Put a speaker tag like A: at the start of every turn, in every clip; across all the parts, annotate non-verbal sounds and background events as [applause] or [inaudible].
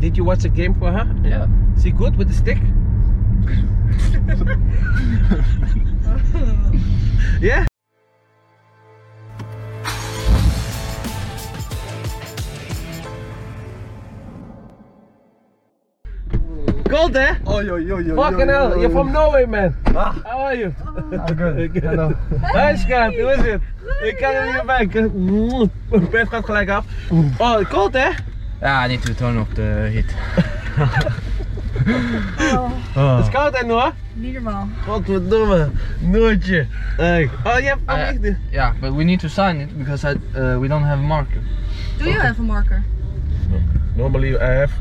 A: Did you watch the game for her?
B: Yeah.
A: Is he good with the stick? yeah. Gold, eh?
B: Oi, oi, oi, oi.
A: Fucking
B: oi,
A: hell,
B: oi,
A: you're
B: oi.
A: from Norway, man.
B: Ah.
A: How are you?
B: I'm good. Hello.
A: Hi, schat, hoe is het? Ik kan er niet bij. Ik- Mm, Mijn pet gaat gelijk af.
B: Mm.
A: Oh, koud hè?
B: Ja, niet te tonen op de hit. Ah.
A: Het is koud en hoor.
C: Niet normaal.
A: Godverdomme, Noortje. Hey. Oh, je hebt ook echt niet.
B: yeah, but we need to sign it because I, uh, we don't have a marker.
C: Doe je even marker?
A: Normally I have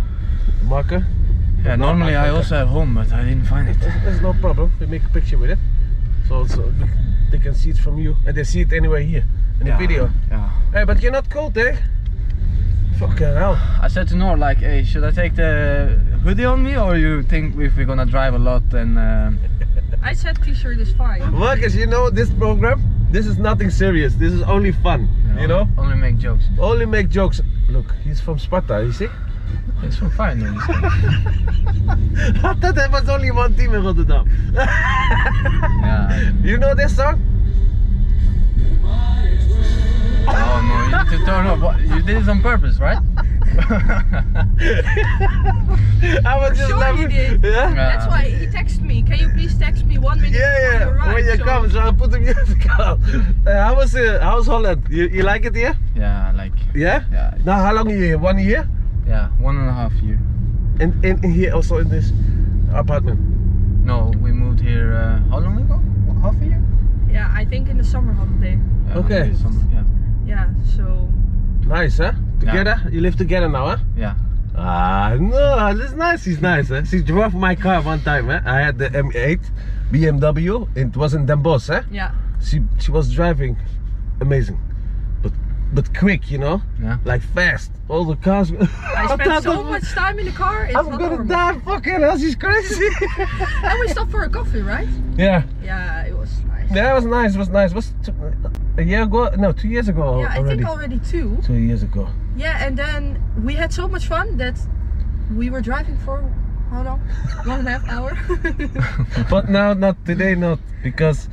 A: marker.
B: Yeah, normally I also have home, but I didn't find it.
A: That's no problem. We make a picture with it. So it's, uh, they can see it from you. And they see it anyway here in the
B: Yeah.
A: video.
B: Yeah.
A: Hey, but you're not cold, eh? Fucking hell.
B: I said to Nor, like, hey, should I take the hoodie on me or you think if we're gonna drive a lot then... Um,
C: I said t-shirt is fine.
A: Workers, you know this program? This is nothing serious. This is only fun. You know?
B: Only make jokes.
A: Only make jokes. Look, he's from Sparta, you see?
B: It's for fun.
A: [laughs] I thought there was only one team in Rotterdam.
B: yeah.
A: You know this song? [laughs]
B: Oh no, you need to turn off. What- You did it on purpose, right? [laughs]
A: I was just
C: Sure
A: laughing.
C: you did.
A: Yeah?
B: Yeah.
C: That's why he texted me. Can you please text me one minute
A: Yeah,
C: before
A: yeah.
C: you arrive?
A: when you
C: So-
A: come, so I put the music [laughs] on. Uh, how was uh, how's Holland? You, you like it here?
B: Yeah, like,
A: Yeah.
B: yeah,
A: Now how long are you here? One year?
B: yeah, one and a half year.
A: In, in, in here also in this apartment.
B: No, we moved here. Uh, how long ago? What, half a year.
C: Yeah, I think in the summer holiday.
B: Yeah,
A: Okay.
B: some- yeah,
C: Yeah, so...
A: Nice, huh? Together? You live together now, huh?
B: yeah.
A: Ah, no, that's nice. He's nice, huh? She drove my car one time, huh? I had the M8 BMW. It was in Den Bosch, huh?
C: Yeah.
A: She she was driving, amazing, but but quick, you know,
B: [laughs] Yeah.
A: like fast. All the cars. [laughs]
C: I
A: thought
C: spent so
A: of-
C: much time in the car. It's
A: I'm
C: not
A: gonna
C: normal.
A: die, fucking hell, she's
C: [laughs]
A: crazy.
C: And we stopped for a coffee, right?
A: yeah,
C: Yeah, it was nice.
A: that was nice, was nice. Was t- a year ago? No, two years ago
C: Yeah, I
A: already.
C: think already two.
A: Two years ago.
C: Yeah, and then we had so much fun that we were driving for how long? [laughs] One and a half hour. [laughs]
A: But now, not today, not because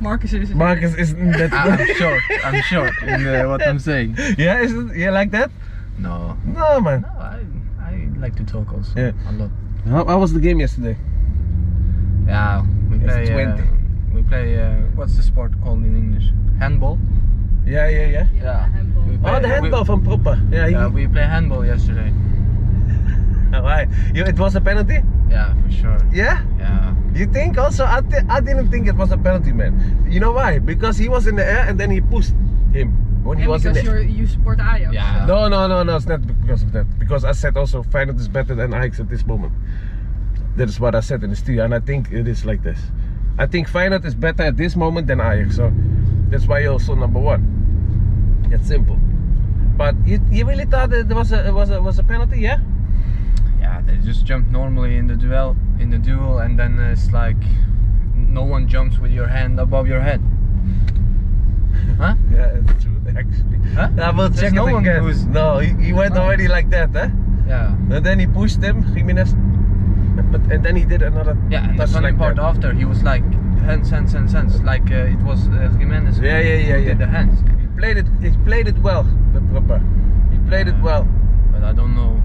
C: Marcus is.
A: Marcus
C: [laughs]
A: isn't that.
B: I- I'm short. I'm short in uh, what I'm saying.
A: yeah, isn't yeah like that?
B: No.
A: No, man.
B: No, I I like to talk also.
A: Yeah.
B: A lot.
A: How, how was the game yesterday?
B: Yeah. We
A: It's
B: play.
A: 20.
B: Uh, we play. Uh, what's the sport called in English? Handball.
A: Yeah, yeah, yeah.
B: Yeah. We play,
A: Oh, the handball from Proper. Yeah, he,
B: We, yeah, we play handball yesterday.
A: Oh, right. You, it was a penalty.
B: Yeah, for sure.
A: Yeah.
B: Yeah.
A: You think also? I, thi- I didn't think it was a penalty, man. You know why? Because he was in the air and then he pushed him when he was in
C: because
A: the
C: you're, you support Ajax.
B: Yeah.
A: No, no, no, no. It's not because of that. Because I said also Feyenoord is better than Ajax at this moment. That is what I said in the studio, and I think it is like this. I think Feyenoord is better at this moment than Ajax, so that's why you're also number one. That's simple. But you, you really thought that there was a was a was a penalty, yeah?
B: Yeah, they just jump normally in the duel in the duel, and then it's like no one jumps with your hand above your head. Huh?
A: Yeah, it's true, actually.
B: Huh?
A: I will
B: There's
A: check
B: no
A: it
B: one
A: again.
B: who's-
A: No, he, he went already like that, huh?
B: Yeah.
A: And then he pushed him, Jimenez. But and then he did another
B: Yeah, and the
A: touch
B: funny
A: like
B: part
A: that.
B: after he was like hands, hands, hands, hands, like uh, it was uh, Jimenez.
A: Yeah, yeah, yeah,
B: who
A: yeah.
B: Did the hands,
A: He played it. He played it well, the proper. He played it well. [laughs]
B: but I don't know.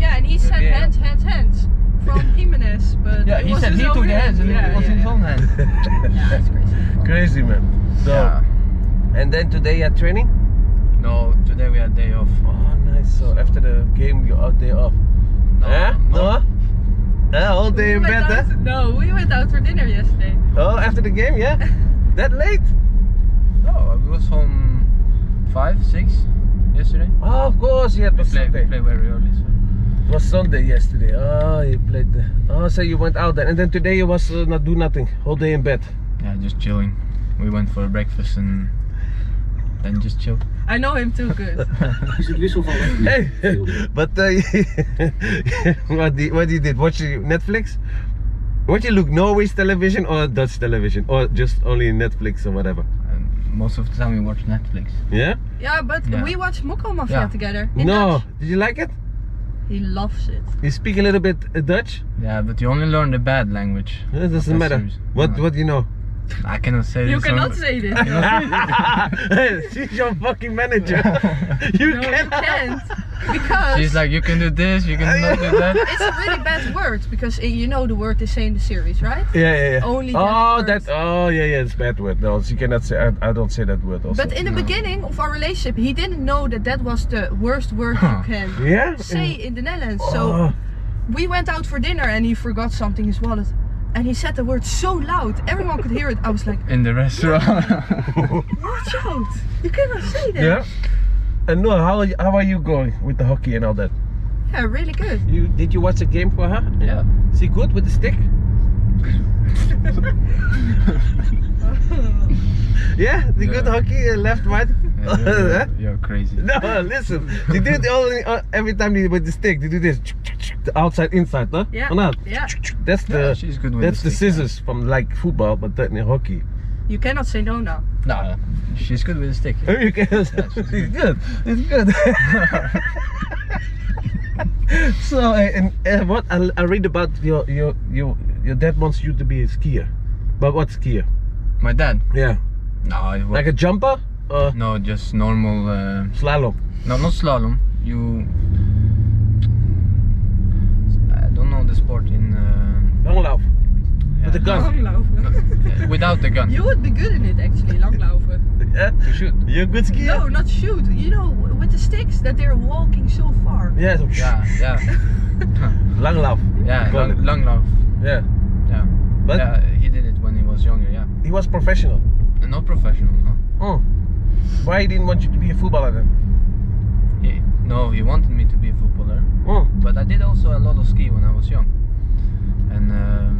C: Yeah, and he said
B: Yeah.
C: hands, hands, hands
B: [laughs]
C: from Jimenez, but
B: Yeah,
C: it
B: he
C: was
B: said
C: his
B: he
C: own
B: took the hands, and
C: yeah,
B: it was
C: yeah,
B: his
C: yeah.
B: own hand.
C: Yeah,
B: [laughs]
C: it's crazy.
A: Crazy man. So
B: Yeah.
A: and then today you are training.
B: No, today we had day off.
A: Oh, nice. So after the game you are day off.
B: No,
A: Eh?
B: no.
A: No. Eh, all
C: We
A: day in
C: went
A: bed,
C: out-
A: eh?
C: No, we went out for dinner yesterday.
A: Oh, after the game, yeah. That late?
B: No, we was home five, six yesterday.
A: Oh, of course. Yeah, it
B: We
A: was
B: play, we
A: Sunday.
B: play very early. So.
A: It was Sunday yesterday. Oh, you played. The... Oh, so you went out then, and then today you was uh, not do nothing, whole day in bed.
B: Yeah, just chilling. We went for breakfast and then just chill.
C: I know him
B: [laughs]
C: too good.
D: Is het wisselvallig?
A: Hey, but uh, [laughs] what do you, what do you did? Watch you- Netflix? What you look Norway's television or Dutch television or just only Netflix or whatever?
B: And most of the time we watch Netflix.
A: Yeah.
C: Yeah, but
B: Yeah.
C: we watched Mokko Mafia
B: Yeah.
C: together. In
A: no.
C: Dutch.
A: Did you like it?
C: He loves it.
A: You speak a little bit uh, Dutch?
B: Yeah, but you only learn the bad language.
A: It doesn't
B: That
A: matter.
B: seems-
A: What
B: no.
A: what do you know?
B: I cannot say
C: You
B: this.
C: cannot
B: on-
C: say this.
B: [laughs]
A: [laughs]
B: You know?
A: She's your fucking
B: [laughs]
A: manager. you
C: No, you
A: can't.
C: can't. Because
B: She's like, you can do this, you can not do
A: [laughs]
B: that.
C: it's a really
B: [laughs]
C: bad word. Because eh, you know the word they say in the series, right?
A: Yeah, yeah, yeah.
C: Only
A: oh,
C: that
A: that. Oh, yeah, yeah. It's bad word. No, she cannot say. I, I don't say that word. Also.
C: But in the
B: No.
C: beginning of our relationship, he didn't know that that was the worst word
B: Huh.
C: you can
A: yeah.
C: say in the Netherlands. So
A: Oh,
C: we went out for dinner and he forgot something in his wallet. And he said the word so loud, everyone could hear it. I was like,
B: In the
A: [laughs]
B: restaurant.
A: Oh.
C: [laughs] watch out! You cannot say that.
A: yeah. And no, how are you, how are you going with the hockey and all that?
C: Yeah, really good.
A: You did you watch a game for her?
B: yeah.
A: [laughs] Is he good with the
C: [laughs]
A: stick? Yeah, the good
B: Yeah.
A: hockey uh, left right.
B: Yeah, you're, you're- you're crazy.
A: Eh? [laughs] no, listen. They do it only uh, every time they with the stick. They do this the outside inside, huh?
C: Yeah.
A: Or not?
C: Yeah.
A: That's the
B: Yeah, she's good with
A: that's the,
B: the stick,
A: scissors from like football, but that in hockey.
C: You cannot say no now.
B: No, no, she's good with a stick.
A: Oh, you can. it's [laughs] good. [laughs] It's good. so uh, and uh, what I, I read about your your your your dad wants you to be a skier, but what skier?
B: My dad.
A: Yeah,
B: No, it was,
A: like a jumper or
B: no, just normal. Uh,
A: slalom.
B: no, not slalom. You. I don't know the sport in. Uh,
A: Langlaufen.
B: yeah,
A: the gun. [laughs]
C: Langlaufen.
B: no, without the gun.
C: You would be good in it actually, langlaufen.
A: Yeah?
B: You shoot.
A: You're a good skier?
C: No, not shoot. You know, with the sticks that they're walking so far.
A: Yeah, so
B: Yeah, yeah,
A: Langlauf.
B: yeah.
A: Got it.
B: Long, long love.
A: Yeah.
B: Yeah.
A: But
B: Yeah, he did it when he was younger. Yeah.
A: he was professional.
B: And not professional. No.
A: Oh. Why he didn't want you to be a footballer then?
B: He, no, he wanted me to be a footballer.
A: Oh.
B: But I did also a lot of ski when I was young. And um,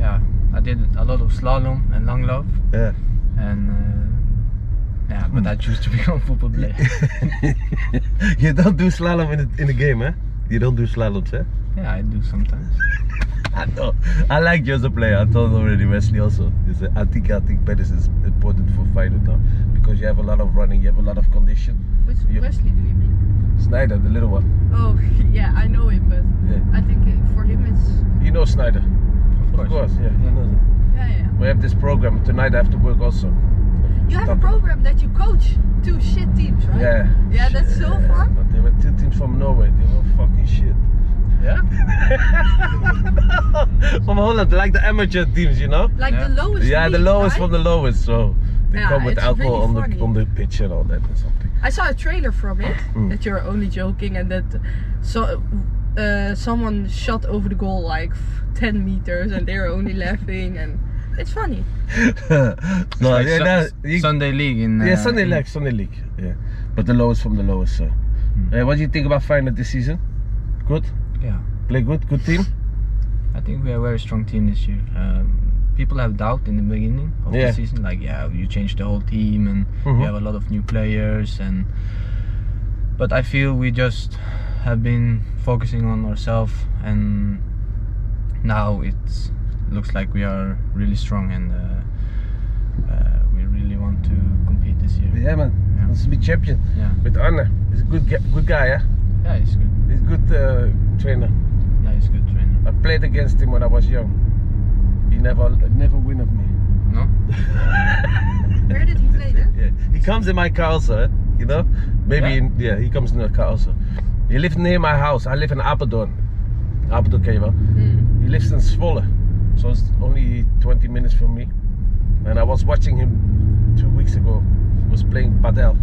B: yeah, I did a lot of slalom and langlauf.
A: Yeah.
B: And uh, yeah, but I choose to [laughs] become a football
A: [laughs]
B: player.
A: [laughs] you don't do slalom in the, in the game, eh? You don't do slaloms, eh?
B: yeah, I do sometimes.
A: I know. I like you as a player. I told already Wesley also. He said, I think I think Pettis is important for fighter now because you have a lot of running, you have a lot of condition.
C: Which
A: Yeah.
C: Wesley do you mean?
A: Snyder, the little one.
C: Oh, [laughs] yeah, I know him, but
A: Yeah.
C: I think uh, for him it's.
A: You know Snyder.
B: Of course.
A: Of course, yeah. he
B: Yeah.
A: knows it.
C: Yeah, yeah.
A: We have this program. Tonight I have to work also.
C: You have a
A: Top.
C: program that you coach two shit teams, right?
A: Yeah.
C: Yeah, that's so fun.
A: But there were two teams from Norway. They were fucking shit. [laughs]
B: Yeah.
A: from Holland, like the amateur teams, you know?
C: Like the
B: Yeah.
C: lowest.
A: Yeah, the
C: league,
A: lowest
C: right?
A: from the lowest. So they
C: Yeah,
A: come with
C: it's
A: alcohol
C: really
A: on the
C: funny.
A: on the pitch and all that and something. [laughs]
C: I saw a trailer from it
A: Mm.
C: that you're only joking and that so uh, someone shot over the goal like f- 10 meters and they're
A: [laughs]
C: only laughing and it's funny.
A: no,
B: Like
A: yeah,
B: Sun-
A: no, you-
B: Sunday league in.
A: yeah,
B: uh,
A: Sunday
B: in-
A: league, Sunday league. Yeah, but the lowest from the lowest. So, Uh, what do you think about Feyenoord this season? Good,
B: Hmm. Yeah.
A: play good, good team.
B: I think we are a very strong team this year. Um, people have doubt in the beginning of
A: Yeah.
B: the season, like yeah, you changed the whole team and
A: Mhm.
B: you have a lot of new players and. But I feel we just have been focusing on ourselves and now it looks like we are really strong and uh, uh, we really want to compete this year.
A: Yeah, man,
B: Yeah.
A: let's be champion
B: Yeah,
A: with Anne. He's a good, gu- good guy. Yeah,
B: yeah, it's good.
A: he's a good uh, trainer.
B: Yeah, it's good trainer.
A: I played against him when I was young. He never, never win of me.
B: No,
A: Hmm.
C: Where did he play then?
A: Yeah, he comes in my car also, eh, you know. Maybe
B: Yeah?
A: In, yeah, he comes in the car also. He lives near my house. I live in Apeldoorn. Apeldoorn, ken je wel?
C: Mm.
A: He lives in Zwolle, so it's only 20 minutes from me. And I was watching him two weeks ago. He was playing padel.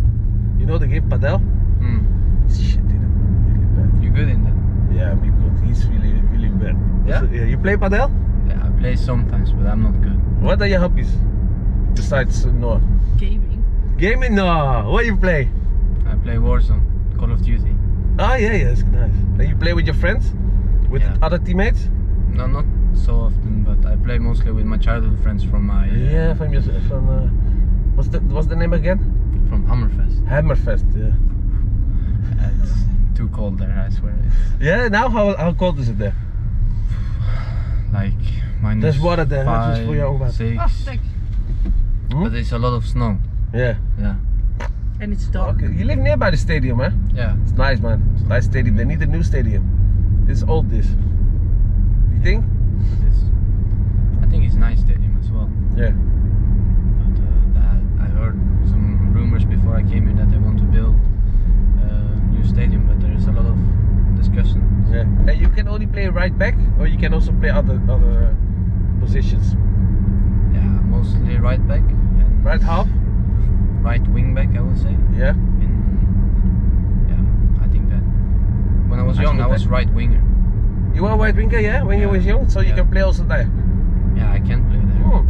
A: You know the game padel?
B: Mm,
A: He's shit in it, man, really bad.
B: you're good in that.
A: Yeah, me good. He's really, really bad.
B: Yeah?
A: So, yeah. You play padel?
B: Yeah, I play sometimes, but I'm not good.
A: What are your hobbies besides uh, no
C: Gaming.
A: gaming? No. What you play?
B: I play Warzone, Call of Duty.
A: Oh yeah, yeah, it's nice. And you play with your friends, with
B: Yeah.
A: other teammates?
B: No, not so often, but I play mostly with my childhood friends from my
A: Yeah, from your from uh, what's the what's the name again?
B: from Hammerfest.
A: Hammerfest. Yeah.
B: Uh, It's too cold there, I swear. It's
A: Yeah. Now how how cold is it there?
B: like minus.
A: There's water there,
B: Five,
A: just for your own water.
B: six.
C: Oh, thanks.
A: Hmm?
B: But it's a lot of snow.
A: Yeah.
B: Yeah.
C: and it's dark.
A: Okay, you live nearby the stadium, huh?
B: Yeah.
A: It's nice, man. It's nice stadium. They need a new stadium. It's old, this. You think?
B: It's, I think it's nice stadium as well.
A: Yeah.
B: But uh, that I heard some rumors before I came here that they want to build a new stadium, but there is a lot of discussion.
A: Yeah. And you can only play right back, or you can also play other other uh, positions.
B: Yeah, mostly right back and
A: Right half.
B: right wing back, I would say.
A: Yeah.
B: And yeah, I think that when I was
A: That's
B: young,
A: good
B: I was
A: then.
B: right winger.
A: You were right winger, yeah, when you
B: Yeah.
A: was young, so you
B: Yeah.
A: can play also there.
B: Yeah, I can play there.
A: Oh.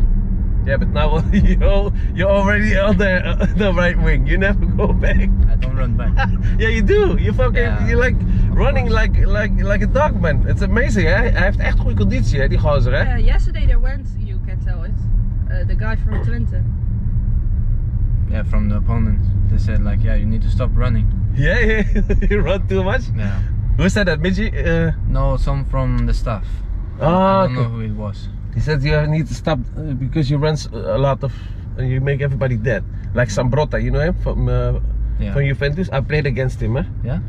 A: Yeah, but now [laughs] you al- you're already on the [laughs] uh, the right wing. You never go back. [laughs]
B: I don't run back.
A: yeah, you do. You fucking
B: Ja.
A: you like running
B: course.
A: like like like a dog man. It's amazing, hè? Hij heeft echt goede conditie, hè, die gozer, hè?
C: Uh, yesterday there went, you can tell it, uh, the guy from Twente.
B: yeah, from the opponents, they said like, yeah, you need to stop running.
A: Yeah, yeah. [laughs] you run too much.
B: Yeah.
A: Who said that, Midgie? Uh,
B: No, some from the staff.
A: ah,
B: I
A: okay.
B: don't know who it was.
A: He said you need to stop uh, because you run s- a lot of and you make everybody dead. Like Sambrotta, you know him from uh,
B: Yeah.
A: from Juventus. I played against him, eh? huh?
B: Yeah.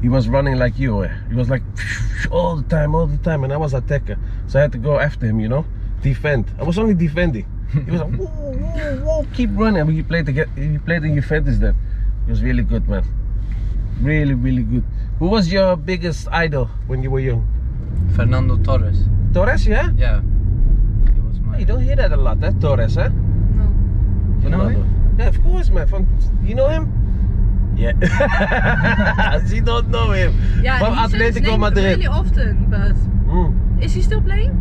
A: He was running like you. eh? He was like [sniffs] all the time, all the time, and I was attacker, so I had to go after him. You know, defend. I was only defending. He
C: [laughs]
A: was like, whoa, whoa, whoa, keep running. But he played again. He played in Juventus then. He was really good, man. Really, really good. Who was your biggest idol when you were young?
B: Fernando Torres.
A: Torres, yeah.
B: Yeah. He was my.
A: You don't hear that a lot, eh? Torres, eh?
C: No.
B: You know
A: Ronaldo.
B: him?
A: Yeah, of course, man. From you know him? Yeah. [laughs] she don't know him.
C: Yeah,
A: from
C: he said his
A: Atletico
C: name
A: Madrid.
C: really often, but
A: Mm.
C: is he still playing?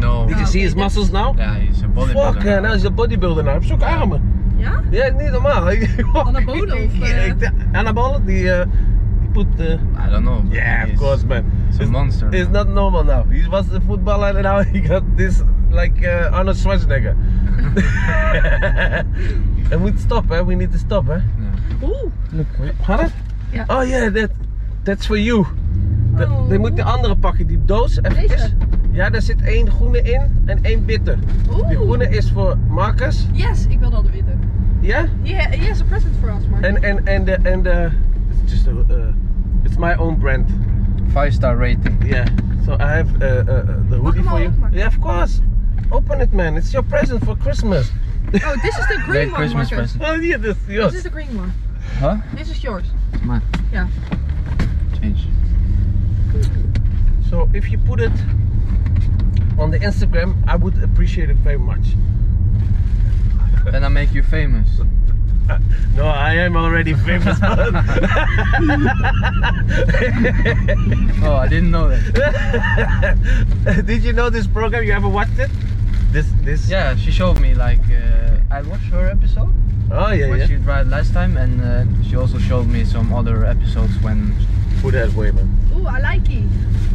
B: No.
A: Did you see his
C: okay, that's-
A: muscles now?
B: Yeah, he's a bodybuilder.
A: nou? Fuck, eh, nou is hij bodybuilder nou. Heb zoek armen.
C: Ja?
A: Ja, niet normaal. [laughs]
C: Anabolen of, eh?
A: Ik- Anabolen, die eh, die put... eh,
B: I don't know. but
A: yeah, of
B: he's-
A: course, man.
B: He's a
A: It's-
B: monster.
A: It's not normal now. He was a footballer and [laughs] now he got this like uh, Arnold [laughs] Schwarzenegger. We moet stop, hè? We need to stop, hè?
B: Yeah.
C: Oeh.
A: Look, had het?
C: Ja.
A: Oh yeah, that, that's for you. Dat-
C: Oh.
A: Die moet de andere pakken, die doos. eventjes.
C: Deze?
A: Ja, daar zit één groene in en één bitter.
C: Oeh.
A: Die groene is voor Marcus,
C: Yes, ik wil dat witte.
A: ja?
C: He, ha- he has a present for us, Mark.
A: En, en, en de, en de, it's just a, uh, it's my own brand.
B: Five star rating.
A: Yeah, so I have uh, uh, the hoodie
C: hem al
A: for you.
C: openmaken?
A: Yeah, of course. Open it man, it's your present for Christmas. [laughs]
C: Oh, this is the green
B: Great
C: one,
B: Christmas
C: Marcus.
B: present.
A: Oh yeah, this yours.
C: This is the green one.
B: Huh?
C: This is yours.
B: Man.
C: Yeah.
B: Change.
A: So if you put it on the Instagram, I would appreciate it very much.
B: Then I make you famous.
A: No, I am already
C: [laughs]
A: famous. man. [laughs]
B: Oh, I didn't know that.
A: [laughs] Did you know this program? You ever watched it? This, this.
B: Yeah, she showed me like uh, I watched her episode
A: Oh yeah,
B: when
A: yeah.
B: she tried last time, and uh, she also showed me some other episodes when
A: Put that way, man.
C: Oeh, I like it.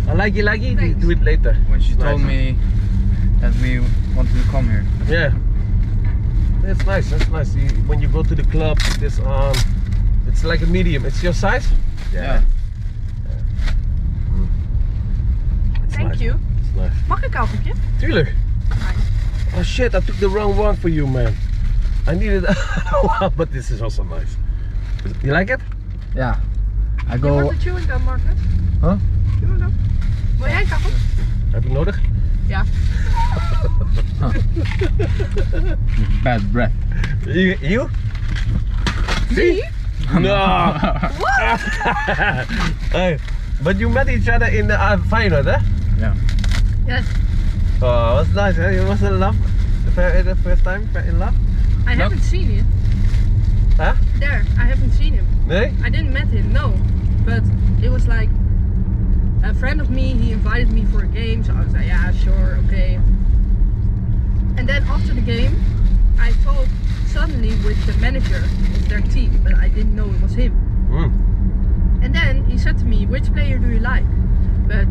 A: I like you, like you.
C: Thanks.
A: Do it later.
B: when she
A: Nice.
B: told me that we wanted to come here.
A: Yeah. That's nice. That's nice. You, when you go to the club, this um, it's like a medium. It's your size. It's
C: Thank
A: nice.
C: you.
A: It's nice.
C: Mag ik appeltje?
A: Tuurlijk. Oh shit! I took the wrong one for you, man. I needed [laughs] one, but this is also nice. You like it?
B: yeah. yeah. I
C: Je
B: go.
C: wordt een chewing gum, Marcus.
B: Huh?
C: Chewing gum. Wil jij een kappel?
A: Heb ik nodig?
B: Bad breath.
A: You? you?
C: Zie?
A: No. Ah. [laughs] hey, but you met each other in the uh, Feyenoord, eh?
C: Yes.
A: Oh, it was nice, eh? You was in love the first, the first time fell in love?
C: I haven't seen him.
A: Huh?
C: There, I haven't seen him.
A: Nee?
C: I didn't met him, no. But it was like a friend of me, he invited me for a game, so I was like, yeah, sure, okay. And then after the game, I talked suddenly with the manager of their team, but I didn't know it was him.
A: Mm.
C: And then he said to me, which player do you like? But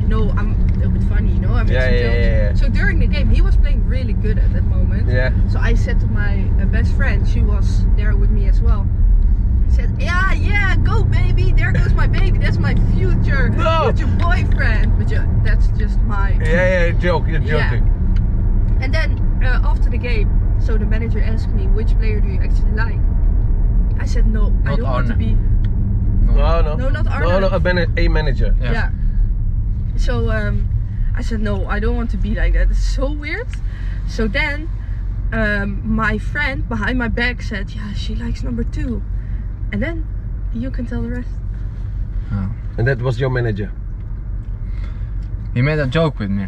C: you know, I'm a little bit funny, you know, I'm
A: Yeah, yeah, yeah, yeah.
C: So during the game, he was playing really good at that moment.
A: Yeah.
C: So I said to my uh, best friend, she was there with me as well. I said, yeah, yeah, go baby, there goes my baby, that's my future,
A: No.
C: future boyfriend. But yeah, that's just my.
A: Yeah, yeah, joke, you're
C: Yeah.
A: joking.
C: And then uh, after the game, So the manager asked me, which player do you actually like? I said, no, I
B: Not
C: don't want to
B: Arne.
C: be.
A: No, no.
C: No, not
A: No, no,
C: Arnold.
A: a, man- a manager.
B: Yeah.
C: Yeah. So um, I said, no, I don't want to be like that. It's so weird. So then um, my friend behind my back said, yeah, she likes number two. And then you can tell the rest.
A: And that was your manager.
B: He made a joke with me.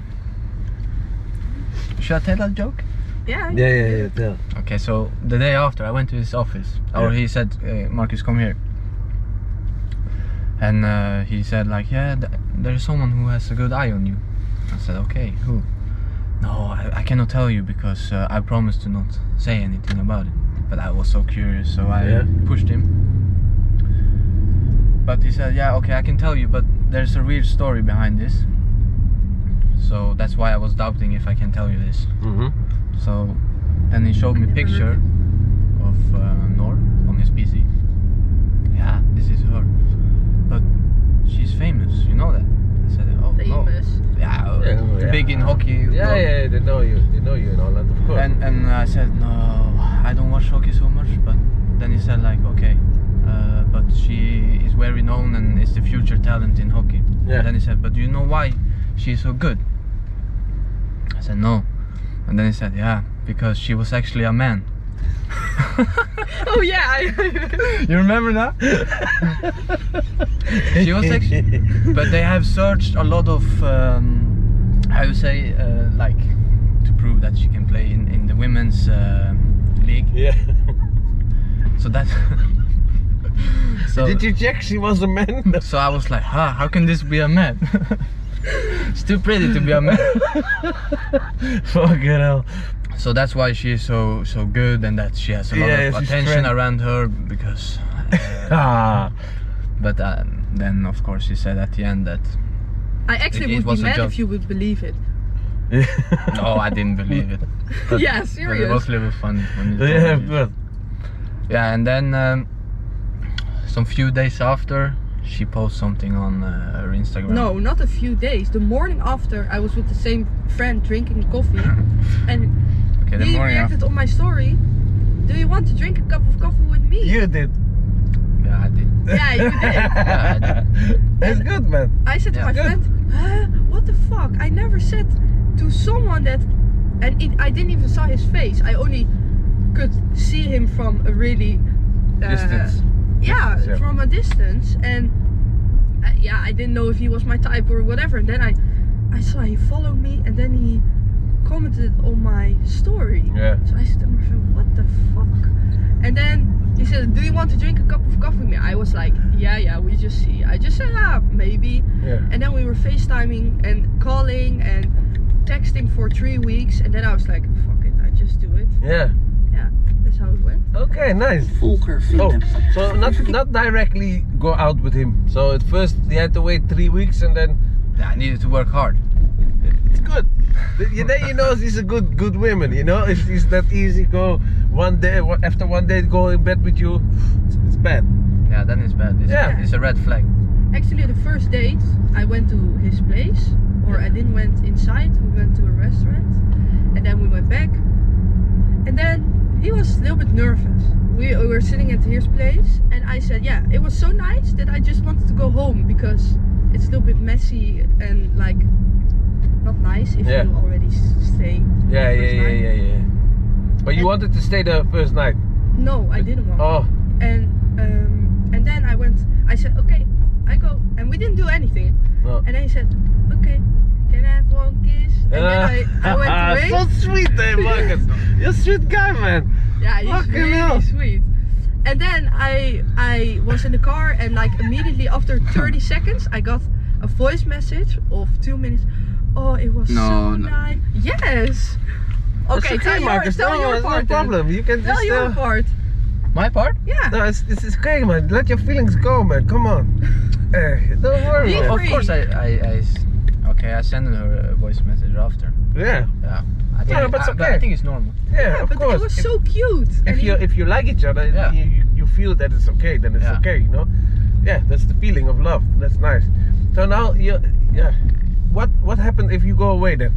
B: Should I tell that joke?
C: Yeah.
A: Yeah, yeah, yeah. Tell.
B: Okay, so the day after I went to his office, or
A: Yeah.
B: he said, uh, Marcus, come here. And uh, he said, like, yeah, th- there's someone who has a good eye on you. I said, okay, who? No, I, I cannot tell you because uh, I promised to not say anything about it. But I was so curious, so I
A: Yeah.
B: pushed him. But he said, yeah, okay, I can tell you, but there's a weird story behind this. So that's why I was doubting if I can tell you this.
A: Mm-hmm.
B: So then he showed me
C: Never heard
B: picture of uh, Nor on his PC. Yeah, this is her. But she's famous, you know that? I said, oh
C: Famous.
B: no. Yeah, uh,
A: Yeah, oh, yeah.
B: big in hockey.
A: Yeah,
B: no.
A: yeah, they know you. They know you in Holland, of course.
B: And and I said no, I don't watch hockey so much. But then he said like, okay, uh, but she is very known and is the future talent in hockey.
A: Yeah. [laughs]
B: And then he said, but do you know why she's so good? I said no. And then he said, yeah, because she was actually a
A: [laughs]
B: man.
C: [laughs] Oh, yeah. I- [laughs]
B: You remember that? she was actually, but they have searched a lot of um, how you say uh, like to prove that she can play in, in the women's uh, league.
A: [laughs] [laughs] yeah.
B: So that. [laughs] so,
A: Did you check she was a man?
B: so I was like, huh, how can this be a man? [laughs] it's too pretty to be a man.
A: [laughs] Fucking hell.
B: so that's why she is so so good and that she has a lot
A: Yeah,
B: of
A: she's
B: attention
A: friend-
B: around her because. uh,
A: Ah.
B: but uh, then of course she said at the end that
C: I actually
B: It- it
C: would
B: was
C: be
B: a
C: mad
B: joke.
C: if you would believe
A: [laughs]
C: it.
A: Oh,
B: no, "Oh, I didn't believe it. But-
C: yeah,
B: But it
C: serious.
B: was a little funny. When
A: [laughs]
B: you
A: yeah,
B: told me.
A: but
B: yeah, and then um, some few days after, she posted something on uh, her Instagram. [laughs]
C: No, not a few days. The morning after, I was with the same friend drinking coffee,
B: [laughs]
C: and
B: Okay, the
C: he
B: morning after.
C: reacted on my story. Do you want to drink a cup of coffee with me?
A: you did.
B: Yeah, I did.
C: Yeah,
A: [laughs]
C: you did.
A: That's good, man.
C: I said
B: Yeah.
C: to my
A: Good.
C: friend, huh? What the fuck? I never said to someone that, and it, I didn't even saw his face. I only could see him from a really uh,
B: Distance.
C: yeah,
A: Distance, yeah.
C: from a distance and uh, yeah i didn't know if he was my type or whatever and then i i saw he followed me and then he commented on my story
A: Yeah.
C: so i said to myself what the fuck and then he said do you want to drink a cup of coffee with me i was like yeah yeah we just see i just said ah maybe
A: Yeah.
C: and then we were facetiming and calling and texting for three weeks and then i was like fuck it i just do it
A: Yeah.
C: that's how it went
A: Okay, nice.
D: Volker
A: Oh,
D: vinden.
A: so not not directly go out with him. So at first you had to wait three weeks, and then
B: Yeah, I needed to work hard.
A: it's good. Th- you- Then you know he's a good good woman. You know, if it's that easy, go one day wa- after one day go in bed with you. It's, it's bad.
B: Yeah, then it's bad. It's,
A: Yeah.
B: it's a red flag.
C: Actually, the first date, I went to his place, or I didn't went inside. We went to a restaurant, and then we went back. And then he was a little bit nervous. We were sitting at his place, and I said, "Yeah, it was so nice that I just wanted to go home because it's a little bit messy and like not nice if
A: Yeah.
C: you already s- stay."
A: Yeah,
C: the
A: yeah,
C: first
A: yeah,
C: night.
A: yeah, yeah. But you wanted to stay there first night.
C: No, I didn't want.
A: Oh,
C: And um, and then I went. I said, "Okay, I go," and we didn't do anything.
A: no.
C: And then he said, okay, can I have one kiss? And then I, I
A: [laughs]
C: went away.
A: Uh, so sweet, eh,
C: [laughs]
A: Marcus? You're a sweet guy, man.
C: yeah, he's
A: fucking
C: really
A: hell.
C: sweet. And then I I was in the car and like immediately
A: [laughs]
C: after 30 seconds I got a voice message of two minutes. Oh, it was so
B: No, no.
C: nice. Yes.
A: It's
C: Okay, tell, your,
A: Marcus.
C: tell
A: no,
C: your
A: it's
C: part.
A: no
C: then.
A: problem. You can
C: Tell
A: just.
C: your
A: uh,
C: part.
B: My part?
C: Yeah.
A: No, it's, it's, it's okay, man. Let your feelings go, man. Come
C: [laughs]
A: on. Eh, don't worry.
C: Be
A: man.
B: Of
C: free.
B: course, I, I, I s- Okay, I sent her a voice message after.
A: Yeah,
B: I think,
A: Yeah, but it's
B: I, I
A: okay.
B: think it's normal.
A: yeah,
C: Yeah,
A: of
C: but
A: course.
C: it was
A: If-
C: so cute.
A: if,
C: and
A: you if you like each other,
B: Yeah.
A: you, you- you feel that it's okay, then it's
B: Yeah.
A: okay, you know. Yeah, that's the feeling of love. That's nice. So now you, yeah, what what happened if you go away then?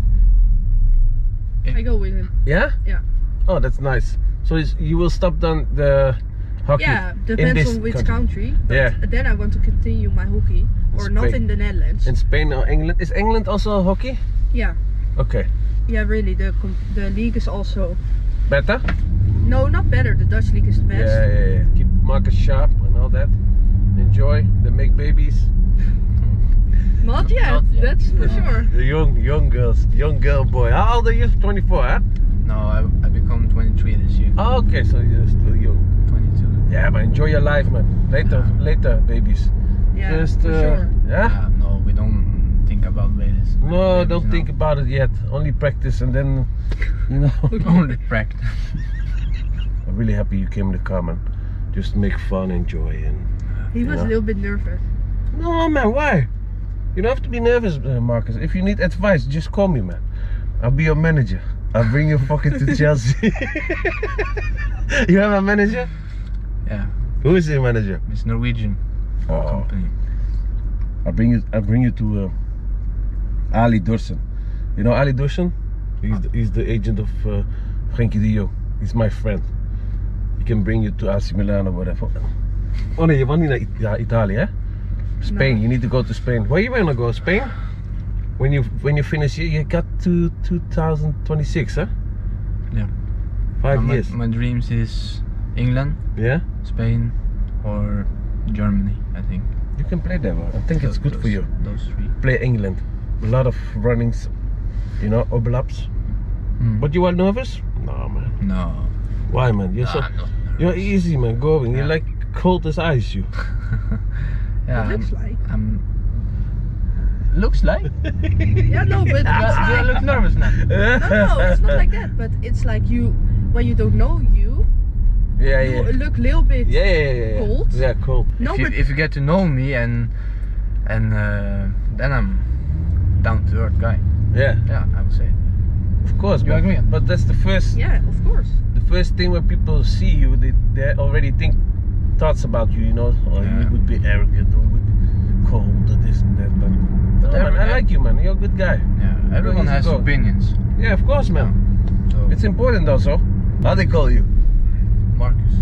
C: he- I go with him.
A: Yeah.
C: Yeah.
A: Oh, that's nice. So it's, you will stop down the hockey.
C: yeah,
A: in
C: depends
A: this
C: on which
A: country.
C: country. But
A: Yeah.
C: Then I want to continue my hockey, or
A: It's
C: not
A: big.
C: in the Netherlands.
A: In Spain or England? Is England also hockey?
C: yeah,
A: Okay.
C: yeah, really. The com- the league is also
A: Better?
C: no, not better. The Dutch league is the best.
A: Yeah, yeah, yeah. Keep market sharp and all that. Enjoy. They make babies.
C: Not yet.
B: Not yet.
C: That's
B: No.
C: for sure.
A: The young, young girls, young girl, boy. How old are you? 24, huh?
B: No, I, I become 23 this year.
A: Oh, okay, so you're still young.
B: 22.
A: Yeah, but enjoy your life, man. Later,
B: Yeah.
A: later, babies.
C: Yeah,
A: Just,
C: for
A: uh,
C: sure.
A: yeah.
B: Yeah, no, we don't think about babies.
A: No,
B: Babies
A: don't
B: now. [laughs]
A: think about it yet. Only practice, and then, you know.
C: [laughs]
A: [laughs]
B: Only practice.
A: I'm really happy you came in the car, man. Just make fun, enjoy, and.
C: He was
A: Yeah.
C: a little bit nervous.
A: No, man, why? You don't have to be nervous, uh, Marcus. If you need advice, just call me, man. I'll be your manager. I'll bring you fucking to Chelsea. [laughs] you have a manager?
B: Yeah,
A: Who is your manager?
B: it's Norwegian
A: Oh,
B: company.
A: I'll bring you. I'll bring you to uh, Ali Dursun. You know Ali Dursun? He's the, he's the agent of uh, Frankie de Jong. He's my friend. He can bring you to AC Milan or whatever. Oh nee, je wou niet naar It- ja, Italië, hè? Spain.
C: No.
A: You need to go to Spain. Where you wanna go? Spain? When you when you finish here, you got to 2026, huh?
B: Yeah.
A: Five
B: my,
A: years.
B: my dreams is England,
A: Yeah.
B: Spain, or Germany. I think.
A: You can play there. man. I think it's
B: Those-
A: good for
B: those-
A: you.
B: Those three.
A: Play England. A lot of runnings. You know, overlaps.
B: Mm.
A: But you are nervous? Hmm. No, man.
B: No.
A: Why, man? You're so
B: I'm not
A: you're easy, man. Going. You're
B: Yeah.
A: like cold as ice. You.
B: yeah.
C: it
B: I'm,
C: looks like. [laughs]
B: I'm.
A: [laughs]
B: Looks like.
C: Yeah, no, but
B: You
C: it's
B: are- you
C: like.
B: look nervous now.
C: No, no, it's not
A: [laughs]
C: like that. But it's like you, when you don't know you,
A: Yeah,
C: you
A: yeah.
C: look little bit.
A: Yeah, yeah, yeah, yeah.
C: Cold?
A: Yeah, cold.
C: No,
B: if, you,
C: but
B: if you get to know me and and uh, then I'm down to earth guy.
A: Yeah,
B: Yeah, I would say.
A: of course.
B: You
A: but,
B: agree?
A: But that's the first,
C: yeah, of course.
A: the first thing when people see you, they, they already think thoughts about you. You know, oh,
B: Yeah.
A: you would be arrogant, or you would be cold, or this and that. But, no,
B: But
A: man,
B: every-
A: I like you, man. You're a good guy.
B: Yeah, everyone
A: easy
B: has
A: go.
B: opinions.
A: Yeah, of course, man.
B: So
A: It's important also. How they call you?
B: Marcus.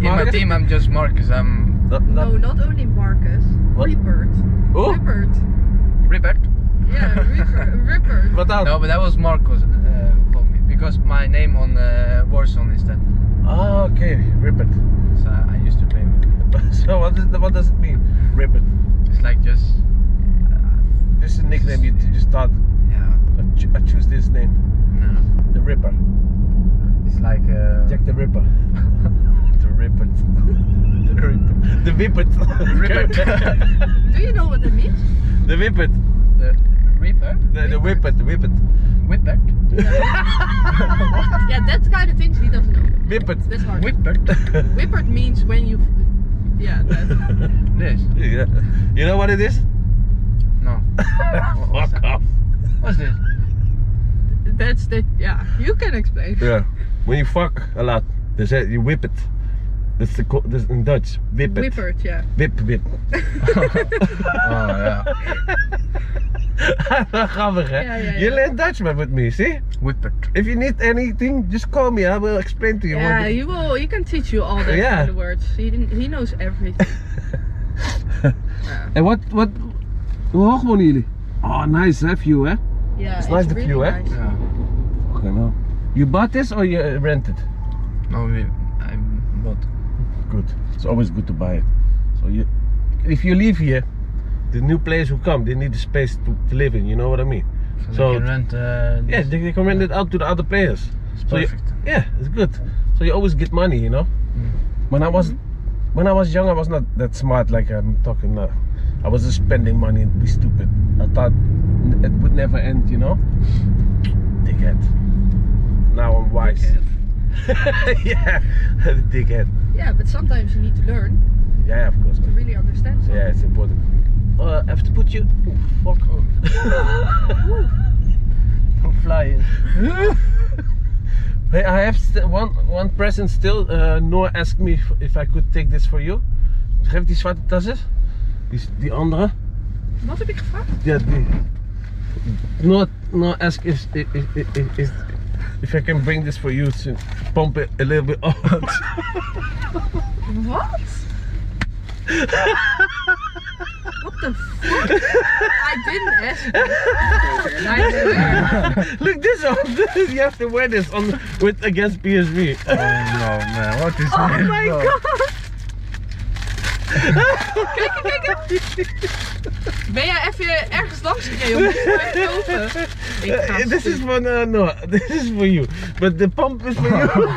B: In my
A: Marcus?
B: team, I'm just Marcus. I'm
A: Not,
C: No, not only Marcus.
A: What?
C: Rupert.
A: Who?
C: Rupert.
B: Rupert.
C: Yeah,
A: [laughs]
C: Rupert. Rupert.
A: Wat dan?
B: No, but that was Marcus uh, who called me because my name on uh, Warzone is that.
A: Ah, okay, rip it.
B: So I used to play with.
A: so what, is, what does it mean, rip it?
B: It's like just. Uh,
A: This is a nickname you you just thought.
B: yeah.
A: I, cho- I choose this name,
B: No.
A: the Ripper.
B: It's like. Uh,
A: Jack the Ripper. the Ripper. The Ripper. [laughs] The Whippet.
B: Ripper.
C: Do you know what that means?
A: [laughs] the Whippet.
B: [laughs] the Reaper.
A: The, the Whippet. The Whippet.
B: Whippert.
C: Yeah, that's the kind of things he doesn't know.
A: Whippet.
C: That's hard.
B: Whippert.
C: Whippert means when you. Yeah, that.
B: This.
A: [laughs] yeah. You know what it is?
B: No. What's
A: [laughs] Fuck
B: that?
A: off.
B: What's this?
C: That's the. Yeah, you can explain.
A: Yeah. When you fuck a lot, they say you whip it. That's the co- that's in Dutch. Whip it.
C: Whippert, yeah.
A: Whip, [laughs] whip.
B: Oh
A: [laughs]
B: yeah.
A: Grappig, hè?
C: Ja, ja, ja.
A: You learn Dutch man with me, see?
B: Whippert.
A: If you need anything, just call me. I will explain to you.
C: Yeah,
A: what
C: he will. He can teach you all that
A: Yeah.
C: kind of words. He didn't, he knows
A: [laughs]
C: everything.
A: En wat, wat, hoe hoog wonen jullie? Oh, nice hè, view hè?
C: Yeah,
A: It's nice the view, eh?
C: nice.
B: Yeah.
A: Fucking hell. You bought this or you uh, rented?
B: No, we, I bought.
A: Good. It's always good to buy it. So you, if you leave here, the new players who come, they need the space to, to live in. You know what I mean?
B: So,
A: So-
B: they can rent. Uh,
A: Yeah,
B: this.
A: they, they can rent it out to the other players.
B: it's
A: so you-
B: perfect.
A: Yeah, it's good. So you always get money, you know.
B: Mm.
A: When I was, when I was young, I was not that smart like I'm talking now. I was just spending money and be stupid. I thought n- it would never end, you know. Dickhead. Now I'm wise. [laughs] yeah, dickhead.
C: Yeah, but sometimes you need to learn
A: Yeah, of course.
C: to
A: man.
C: really understand something.
A: Yeah, it's important. Uh, I have to put you. Oh, fuck. Oh. [laughs]
B: Don't fly in.
A: hey, I have st- one one present still. Uh, Noor asked me if, if I could take this for you. Geef die zwarte tas eens. Die, s- die andere.
C: Wat heb ik gevraagd?
A: Ja, die. not not ask if if if, if, if, if I can bring this for you to pump it a little bit [laughs] out. [laughs]
C: What? what the fuck? I didn't
A: [laughs]
C: ask. you. I swear.
A: Look this on. [laughs] you have to wear this on with against PSV.
D: Oh no, man, what is
C: Oh
D: this?
C: my
D: bro?
C: god. Kijk, kijk, kijk. Ben jij even ergens langs gereden om dit te mij kopen? Ik ga
A: Uh, this
C: stuk.
A: is for no, no. [laughs] This is for you. But the pump is for you.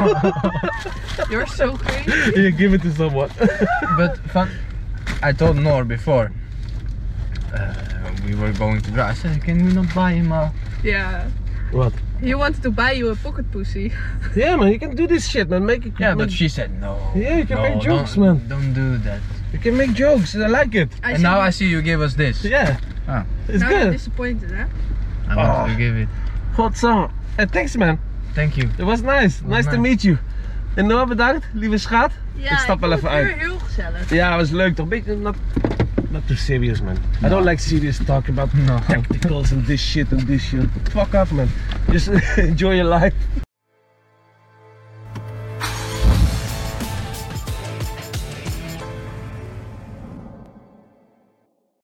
C: You're so crazy.
A: you give it to someone.
B: [laughs] But fun, I told Nor before. Uh, we were going to drive. I said, can we not buy him a?
C: Yeah.
A: What?
C: He wanted to buy you a pocket pussy.
A: Yeah, man. You can do this shit, man. Make it.
B: Yeah,
A: make,
B: but she said no.
A: Yeah, you can
B: no,
A: make jokes,
B: don't-
A: man.
B: Don't do that.
A: you can make jokes. nou, I like it.
C: I
B: and now I see you gave us this.
A: Yeah.
B: Ah.
A: It's
C: now Nou, you're
A: good.
C: disappointed, hè?
B: I want
A: Oh.
B: to give it.
A: Hot song. Hey, thanks, man.
B: Thank you.
A: It was nice. Nice to
B: nice.
A: meet you. En Noah, bedankt. Lieve schat.
C: Ja,
A: Ik stap wel
C: vond
A: even
C: het
A: uit.
C: weer heel gezellig.
A: Ja, was leuk toch? Beetje not, not too serious, man. I don't like serious talk about
B: No.
A: tacticals and this shit and this shit. Fuck off, man. Just [laughs] enjoy your life.